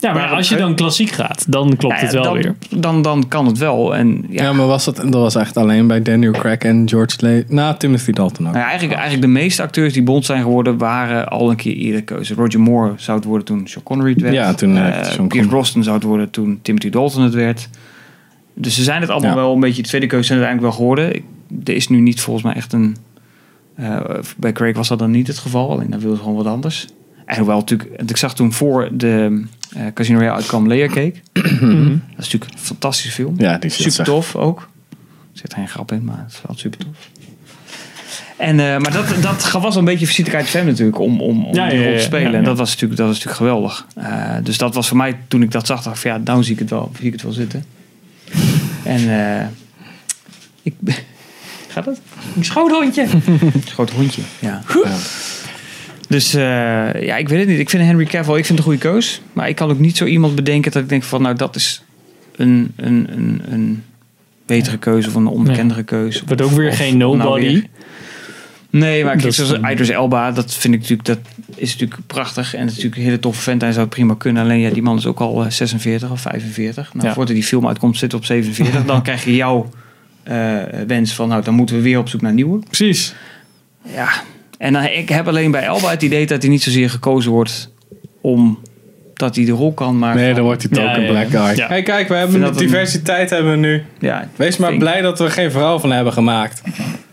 Speaker 1: Ja, maar
Speaker 2: maar
Speaker 1: als je dan klassiek gaat, dan klopt
Speaker 2: Nou ja,
Speaker 1: het wel
Speaker 2: dan,
Speaker 1: weer.
Speaker 2: Dan, dan kan het wel. En ja,
Speaker 3: Ja. maar was dat, dat was echt alleen bij Daniel Craig en George Lee. Nou, Timothy Dalton ook.
Speaker 2: Nou ja, eigenlijk, eigenlijk de meeste acteurs die Bond zijn geworden, waren al een keer eerder keuze. Roger Moore zou het worden toen Sean Connery het werd.
Speaker 3: Ja, toen, eh,
Speaker 2: Eh,
Speaker 3: Sean Connery.
Speaker 2: Pierce Brosnan zou het worden toen Timothy Dalton het werd. Dus ze zijn het allemaal
Speaker 3: Ja.
Speaker 2: wel een beetje de tweede keuze zijn het uiteindelijk wel geworden. Ik- er is nu niet volgens mij echt een... eh, bij Craig was dat dan niet het geval. Alleen dan wilde ze gewoon wat anders. En hoewel natuurlijk... want Ik zag toen voor de eh, Casino Royale uitkwam Layer Cake. dat is natuurlijk een fantastische film.
Speaker 3: Mhm. Ja, die zit
Speaker 2: Super tof ook. Er zit geen grap in, maar het is wel super tof. En, eh, maar dat, dat was een beetje visitekaartje van hem natuurlijk om, om, om
Speaker 1: Ja,
Speaker 2: die
Speaker 1: ja,
Speaker 2: rol
Speaker 1: ja,
Speaker 2: te spelen.
Speaker 1: ja, ja.
Speaker 2: En dat was natuurlijk, dat was natuurlijk geweldig. Eh, dus dat was voor mij, toen ik dat zag, dacht ik van ja, nou zie ik het wel, zie ik het wel zitten. En eh, ik... Gaat het? Een schoothondje. Groot hondje, ja. Dus eh, ja, ik weet het niet. Ik vind Henry Cavill, ik vind het een goede keus. Maar ik kan ook niet zo iemand bedenken dat ik denk van... nou, dat is een, een, een, een betere keuze of een onbekendere keuze.
Speaker 1: Wordt ook weer
Speaker 2: Of
Speaker 1: geen
Speaker 2: nou
Speaker 1: nobody.
Speaker 2: weer- Nee, maar
Speaker 1: Dat
Speaker 2: kijk,
Speaker 1: is
Speaker 2: zoals
Speaker 1: dan-
Speaker 2: Idris Elba, dat vind ik natuurlijk, dat is natuurlijk prachtig. En het is natuurlijk een hele toffe vent. Hij zou het prima kunnen. Alleen ja, die man is ook al eh, 46 of 45. Nou,
Speaker 1: Ja.
Speaker 2: voordat die film uitkomt zit op 47. dan krijg je jouw eh, wens van, nou, dan moeten we weer op zoek naar nieuwe.
Speaker 1: Precies.
Speaker 2: Ja, en dan, ik heb alleen bij Elba het idee dat hij niet zozeer gekozen wordt om dat hij de rol kan, maar
Speaker 3: Nee, dan wordt hij
Speaker 1: Ja,
Speaker 3: token
Speaker 1: ja, ja.
Speaker 3: black guy.
Speaker 1: Ja.
Speaker 3: Hey, kijk, we hebben
Speaker 2: Vind
Speaker 3: de
Speaker 2: dat een-
Speaker 3: diversiteit hebben we nu.
Speaker 2: ja,
Speaker 3: Wees maar
Speaker 2: Denk-
Speaker 3: blij dat we er geen verhaal van hebben gemaakt.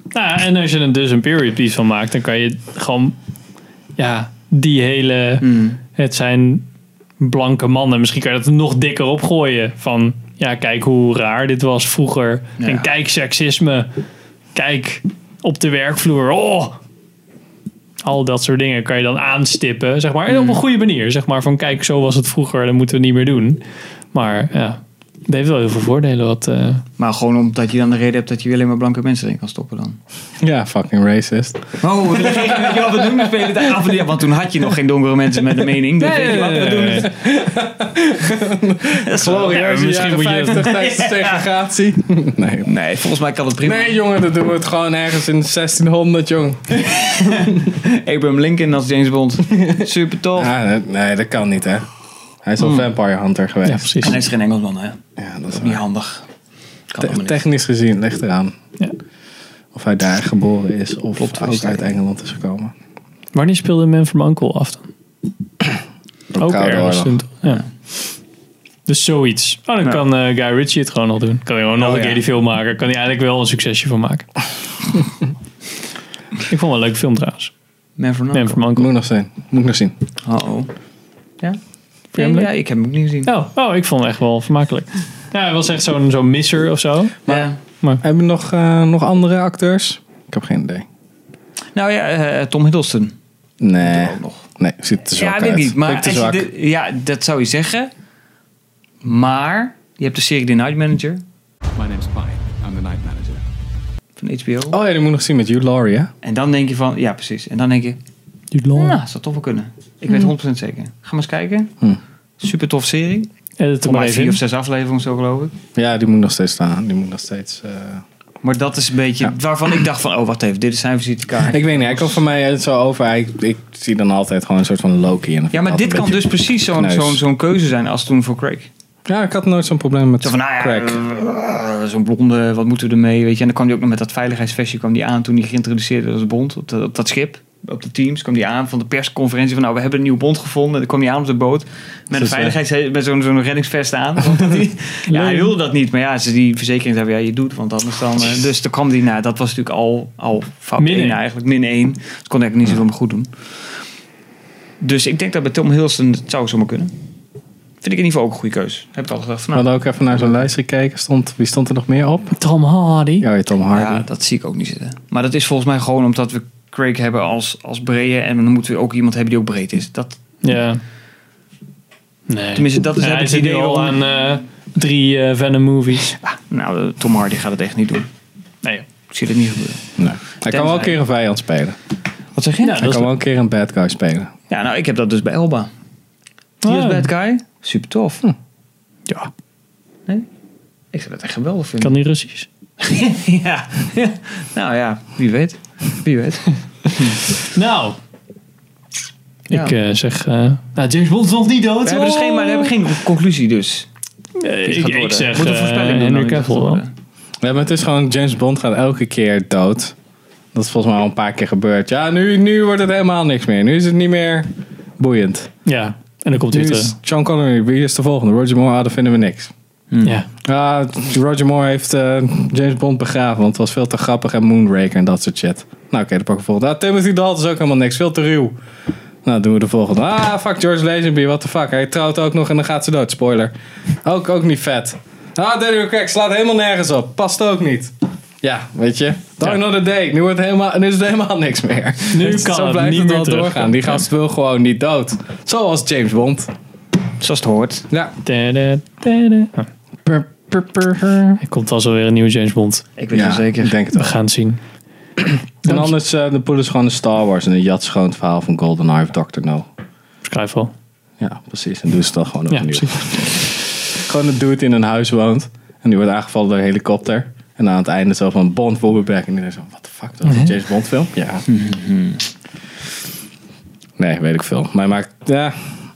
Speaker 1: Nou, ja, en als je er dus een period piece van maakt, dan kan je gewoon... Ja, die hele...
Speaker 2: Hmm.
Speaker 1: Het zijn blanke mannen. Misschien kan je dat er nog dikker opgooien. Van, ja, kijk hoe raar dit was vroeger.
Speaker 2: Ja.
Speaker 1: En kijk seksisme. Kijk op de werkvloer. Oh! Al dat soort dingen kan je dan aanstippen, zeg maar. En op een goede manier, zeg maar. Van, kijk, zo was het vroeger, dat moeten we niet meer doen. Maar, ja... Het heeft wel heel veel voordelen. Wat, eh,
Speaker 2: Maar gewoon omdat je dan de reden hebt dat je weer alleen maar blanke mensen erin kan stoppen dan.
Speaker 3: Ja, fucking racist.
Speaker 2: Oh, we je wat we doen, we spelen het af. en toe. Ja, Ah, want toen had je nog geen donkere mensen met een mening. Dus weet je wat we doen. Dat is wel-
Speaker 3: Glorieus,
Speaker 1: Ja,
Speaker 3: ja,
Speaker 1: misschien
Speaker 3: jaren
Speaker 1: moet je-
Speaker 3: 50 tijdens de segregatie. Nee.
Speaker 2: Nee, volgens mij kan het prima.
Speaker 3: Nee, jongen, dat doen we het gewoon ergens in 1600, jong.
Speaker 2: Abraham Lincoln als James Bond. Super tof.
Speaker 3: Ah, dat- nee, dat kan niet, hè. Hij is al
Speaker 2: Hmm.
Speaker 3: Vampire Hunter
Speaker 1: ja,
Speaker 3: geweest.
Speaker 1: precies.
Speaker 2: En hij is geen Engelsman, hè?
Speaker 3: Ja, dat is
Speaker 2: Niet
Speaker 3: waar.
Speaker 2: handig. Kan
Speaker 3: Te-
Speaker 2: allemaal niet.
Speaker 3: technisch gezien ligt eraan.
Speaker 1: Ja.
Speaker 3: Of hij daar geboren is of
Speaker 2: Plot twist,
Speaker 3: ook uit
Speaker 2: eigenlijk.
Speaker 3: Engeland is gekomen.
Speaker 1: Wanneer speelde Man from Uncle af dan? Ook
Speaker 3: Koude
Speaker 1: ergens.
Speaker 3: Oorlog.
Speaker 1: toen- Ja. Dus zoiets. Oh, dan
Speaker 2: Ja. Oh,
Speaker 1: kan eh, Guy Ritchie het gewoon al doen. Kan hij gewoon nog een
Speaker 2: ja.
Speaker 1: keer die film maken. Kan hij eigenlijk wel een succesje van maken. Ik vond het wel een leuk film trouwens.
Speaker 2: Man from
Speaker 1: Nee,
Speaker 2: Uncle.
Speaker 1: van Manko.
Speaker 3: Moet ik nog zien. Moet ik nog zien.
Speaker 2: Oh oh. Ja?
Speaker 1: hem
Speaker 2: Ja,
Speaker 1: leuk?
Speaker 2: ja, ik heb hem ook niet gezien.
Speaker 1: Oh, oh, ik vond het echt wel vermakelijk. Ja, hij was echt zo'n zo'n misser of zo.
Speaker 2: Ja.
Speaker 3: Hebben we nog, eh, nog andere acteurs? Ik heb geen idee.
Speaker 2: Nou ja, eh, Tom Hiddleston.
Speaker 3: Nee.
Speaker 2: Ook nog.
Speaker 3: Nee, ziet er zwak
Speaker 2: Ja, weet ik
Speaker 3: uit.
Speaker 2: niet. Maar
Speaker 3: Vind ik
Speaker 2: als
Speaker 3: te
Speaker 2: je
Speaker 3: zwak.
Speaker 2: dit- ja, dat zou je zeggen. Maar je hebt de serie The Night Manager
Speaker 9: My name's Pine. I'm the night manager.
Speaker 2: van HBO.
Speaker 3: Oh ja, die moet ik nog zien met Hugh Laurie, hè?
Speaker 2: En dan denk je van, ja precies. En dan denk je, nou, dat zou toch wel kunnen. Ik weet 100% zeker. Ga maar eens kijken.
Speaker 3: Hmm.
Speaker 2: Super tof serie.
Speaker 1: Edit er
Speaker 2: Kom
Speaker 1: Hm. maar
Speaker 2: maar
Speaker 1: even
Speaker 2: vier
Speaker 1: in.
Speaker 2: of zes afleveringen zo geloof ik.
Speaker 3: Ja, die moet nog steeds staan. Die moet nog steeds... eh,
Speaker 2: Maar dat is een beetje waarvan ik dacht van, oh wacht even, dit is zijn visitekaart.
Speaker 3: Ik weet niet, hij komt van mij het zo over. Hij, ik zie dan altijd gewoon een soort van Loki. En dan
Speaker 2: Ja,
Speaker 3: vind ik
Speaker 2: maar dit
Speaker 3: altijd
Speaker 2: kan
Speaker 3: een
Speaker 2: dus precies zo'n
Speaker 3: kneus.
Speaker 2: zo'n zo'n keuze zijn als toen voor Craig.
Speaker 3: beetje- Ja, ik had nooit zo'n probleem met
Speaker 2: Zo van, nou ja,
Speaker 3: crack.
Speaker 2: eh, zo'n blonde, wat moeten we ermee, weet je. En dan kwam hij ook nog met dat veiligheidsvestje kwam die aan toen hij geïntroduceerd werd als Bond op, de- op dat schip. Op de teams kwam die aan van de persconferentie van, nou, we hebben een nieuwe Bond gevonden. En dan kwam hij aan op de boot met,
Speaker 3: Dus,
Speaker 2: een
Speaker 3: eh,
Speaker 2: veiligheids, met zo'n zo'n reddingsvest aan. Omdat hij- ja, hij wilde dat niet. Maar ja, ze die verzekering zei, ja, je doet, want anders dan... eh, dus toen kwam hij, nou, dat was natuurlijk al, al fout
Speaker 1: Min
Speaker 2: één
Speaker 1: één.
Speaker 2: eigenlijk, min 1. Dus kon eigenlijk niet zoveel meer goed doen. Dus ik denk dat bij Tom Hiddleston het zou zomaar kunnen. Vind ik in ieder geval ook een goede keuze. Heb ik al gedacht van,
Speaker 3: We
Speaker 2: nou,
Speaker 3: hadden ook even naar zo'n lijst gekeken. Stond, wie stond er nog meer op?
Speaker 1: Tom Hardy.
Speaker 3: Ja, je Tom Hardy.
Speaker 2: Ja, dat zie ik ook niet zitten. Maar dat is volgens mij gewoon omdat we Craig hebben als, als breed. En dan moeten we ook iemand hebben die ook breed is. Dat,
Speaker 1: Ja. Nee.
Speaker 2: Tenminste, dat is
Speaker 1: Ja,
Speaker 2: heb
Speaker 1: hij
Speaker 2: ik
Speaker 1: zit nu
Speaker 2: idee
Speaker 1: al
Speaker 2: om-
Speaker 1: aan eh, drie eh, Venom movies.
Speaker 2: nou, eh, Tom Hardy gaat het echt niet doen.
Speaker 1: Nee.
Speaker 2: Ik zie het niet gebeuren.
Speaker 3: Nee. Hij kan wel een keer een vijand spelen.
Speaker 2: Wat zeg je? Ja,
Speaker 3: Hij kan wel een keer een bad guy spelen.
Speaker 2: nou, ik heb dat dus bij Elba. Die
Speaker 1: Oh.
Speaker 2: is bad guy. Super tof.
Speaker 3: Ja.
Speaker 2: Ik zou dat echt geweldig vinden.
Speaker 1: Kan niet Russisch.
Speaker 2: ja. nou ja, wie weet. Wie weet.
Speaker 1: Nou.
Speaker 2: Ja.
Speaker 1: Ik eh, zeg... eh, nou, James Bond is nog niet dood.
Speaker 2: We hebben, dus geen, maar we hebben geen conclusie dus.
Speaker 1: Eh,
Speaker 2: Dit
Speaker 1: ik,
Speaker 2: gaat
Speaker 1: ik
Speaker 2: worden.
Speaker 1: zeg
Speaker 2: Moet een
Speaker 1: eh,
Speaker 2: voorspelling doen dan eh.
Speaker 1: Henry
Speaker 2: dit gaat
Speaker 1: Cavill wel.
Speaker 2: worden.
Speaker 3: Ja, maar het is gewoon, James Bond gaat elke keer dood. Dat is volgens mij al een paar keer gebeurd. Ja, nu, nu wordt het helemaal niks meer. Nu is het niet meer boeiend.
Speaker 1: Ja. En dan komt
Speaker 3: Nu
Speaker 1: hij eh,
Speaker 3: is
Speaker 1: terug.
Speaker 3: Sean Connery, wie is de volgende? Roger Moore, ah, dat vinden we niks.
Speaker 1: Ja.
Speaker 3: Ja, Ah, Roger Moore heeft eh, James Bond begraven, want het was veel te grappig en Moonraker en dat soort shit. Nou oké, dan pak ik de volgende. Ah, Timothy Dalton is ook helemaal niks, veel te ruw. Nou, doen we de volgende. Ah, fuck George Lazenby, what the fuck. Hij trouwt ook nog en dan gaat ze dood, spoiler. Ook, ook niet vet. Ah, Daniel Craig slaat helemaal nergens op, past ook niet. Ja, weet je. Die
Speaker 1: Ja.
Speaker 3: another day. Nu, wordt het helemaal, nu is het helemaal niks meer.
Speaker 1: Nu
Speaker 3: Dus
Speaker 1: kan
Speaker 3: zo
Speaker 1: het
Speaker 3: blijft
Speaker 1: niet
Speaker 3: het
Speaker 1: meer
Speaker 3: wel
Speaker 1: terug.
Speaker 3: doorgaan. Die gast wil gewoon niet dood. Zoals James Bond.
Speaker 2: Zoals het hoort.
Speaker 3: Ja.
Speaker 1: Tada, tada. Ah,
Speaker 3: Pur, pur, pur, pur.
Speaker 1: Er komt alweer weer een nieuwe James Bond.
Speaker 2: Ik weet het zeker.
Speaker 3: ik denk het
Speaker 1: We gaan het zien.
Speaker 3: En anders, eh de poelen is gewoon de Star Wars en de jat is gewoon het verhaal van GoldenEye of Dr. No.
Speaker 1: Skyfall.
Speaker 3: Ja, precies. En doen ze dat gewoon
Speaker 1: Ja,
Speaker 3: opnieuw.
Speaker 1: precies.
Speaker 3: gewoon een dude in een huis woont en die wordt aangevallen door een helikopter. En aan het einde zo van Bond, Wobbeback. En die denkt zo, what the fuck, dat is
Speaker 1: Mhm.
Speaker 3: een James Bond film? Ja. nee, weet ik veel. Maar hij maakt, ja,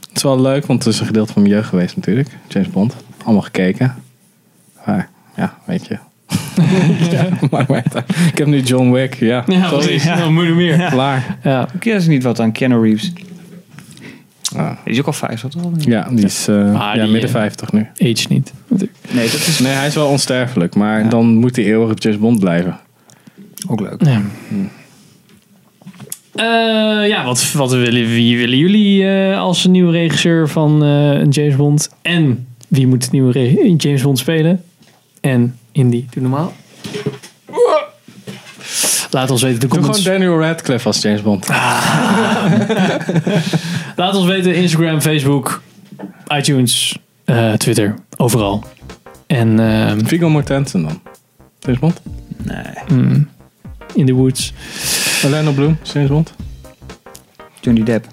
Speaker 3: het is wel leuk, want het is een gedeelte van mijn jeugd geweest natuurlijk. James Bond. Allemaal gekeken. Maar, ja, weet je. ja, maar, maar, ik heb nu John Wick, ja. Sorry.
Speaker 1: moet je meer.
Speaker 3: Klaar.
Speaker 1: Ja.
Speaker 2: Ik ken dus niet wat aan Keanu Reeves.
Speaker 3: Ah.
Speaker 2: Die is ook al vijf, zat al?
Speaker 3: Ja, die is eh,
Speaker 1: Ah,
Speaker 3: ja,
Speaker 1: die,
Speaker 3: midden
Speaker 1: eh,
Speaker 3: 50 nu.
Speaker 1: Age niet.
Speaker 2: Nee, dat is
Speaker 3: Nee, hij is wel onsterfelijk, maar dan moet hij eeuwig op James Bond blijven.
Speaker 2: ook leuk.
Speaker 1: Ja. Eh, ja, wat, wat willen, wie willen jullie eh, als een nieuwe regisseur van eh, een James Bond? En wie moet de nieuwe re- James Bond spelen? En Indy, doe normaal. Laat ons weten in de
Speaker 3: Doe
Speaker 1: comments.
Speaker 3: gewoon Daniel Radcliffe als James Bond.
Speaker 2: Ah.
Speaker 1: Laat ons weten Instagram, Facebook, iTunes, eh, Twitter, overal. En ehm,
Speaker 3: Viggo Mortensen dan. James Bond.
Speaker 1: in the woods.
Speaker 3: Orlando Bloom, is James Bond.
Speaker 2: Johnny Depp.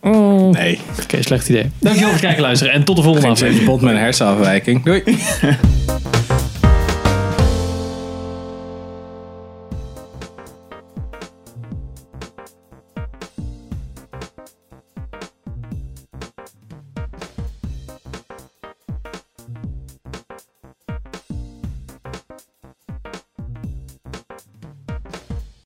Speaker 1: Oh, Oké,
Speaker 3: Nee,
Speaker 1: slecht idee. Dankjewel voor het kijken, luisteren en tot de volgende aflevering.
Speaker 3: James Bond met een hersenafwijking. Doei.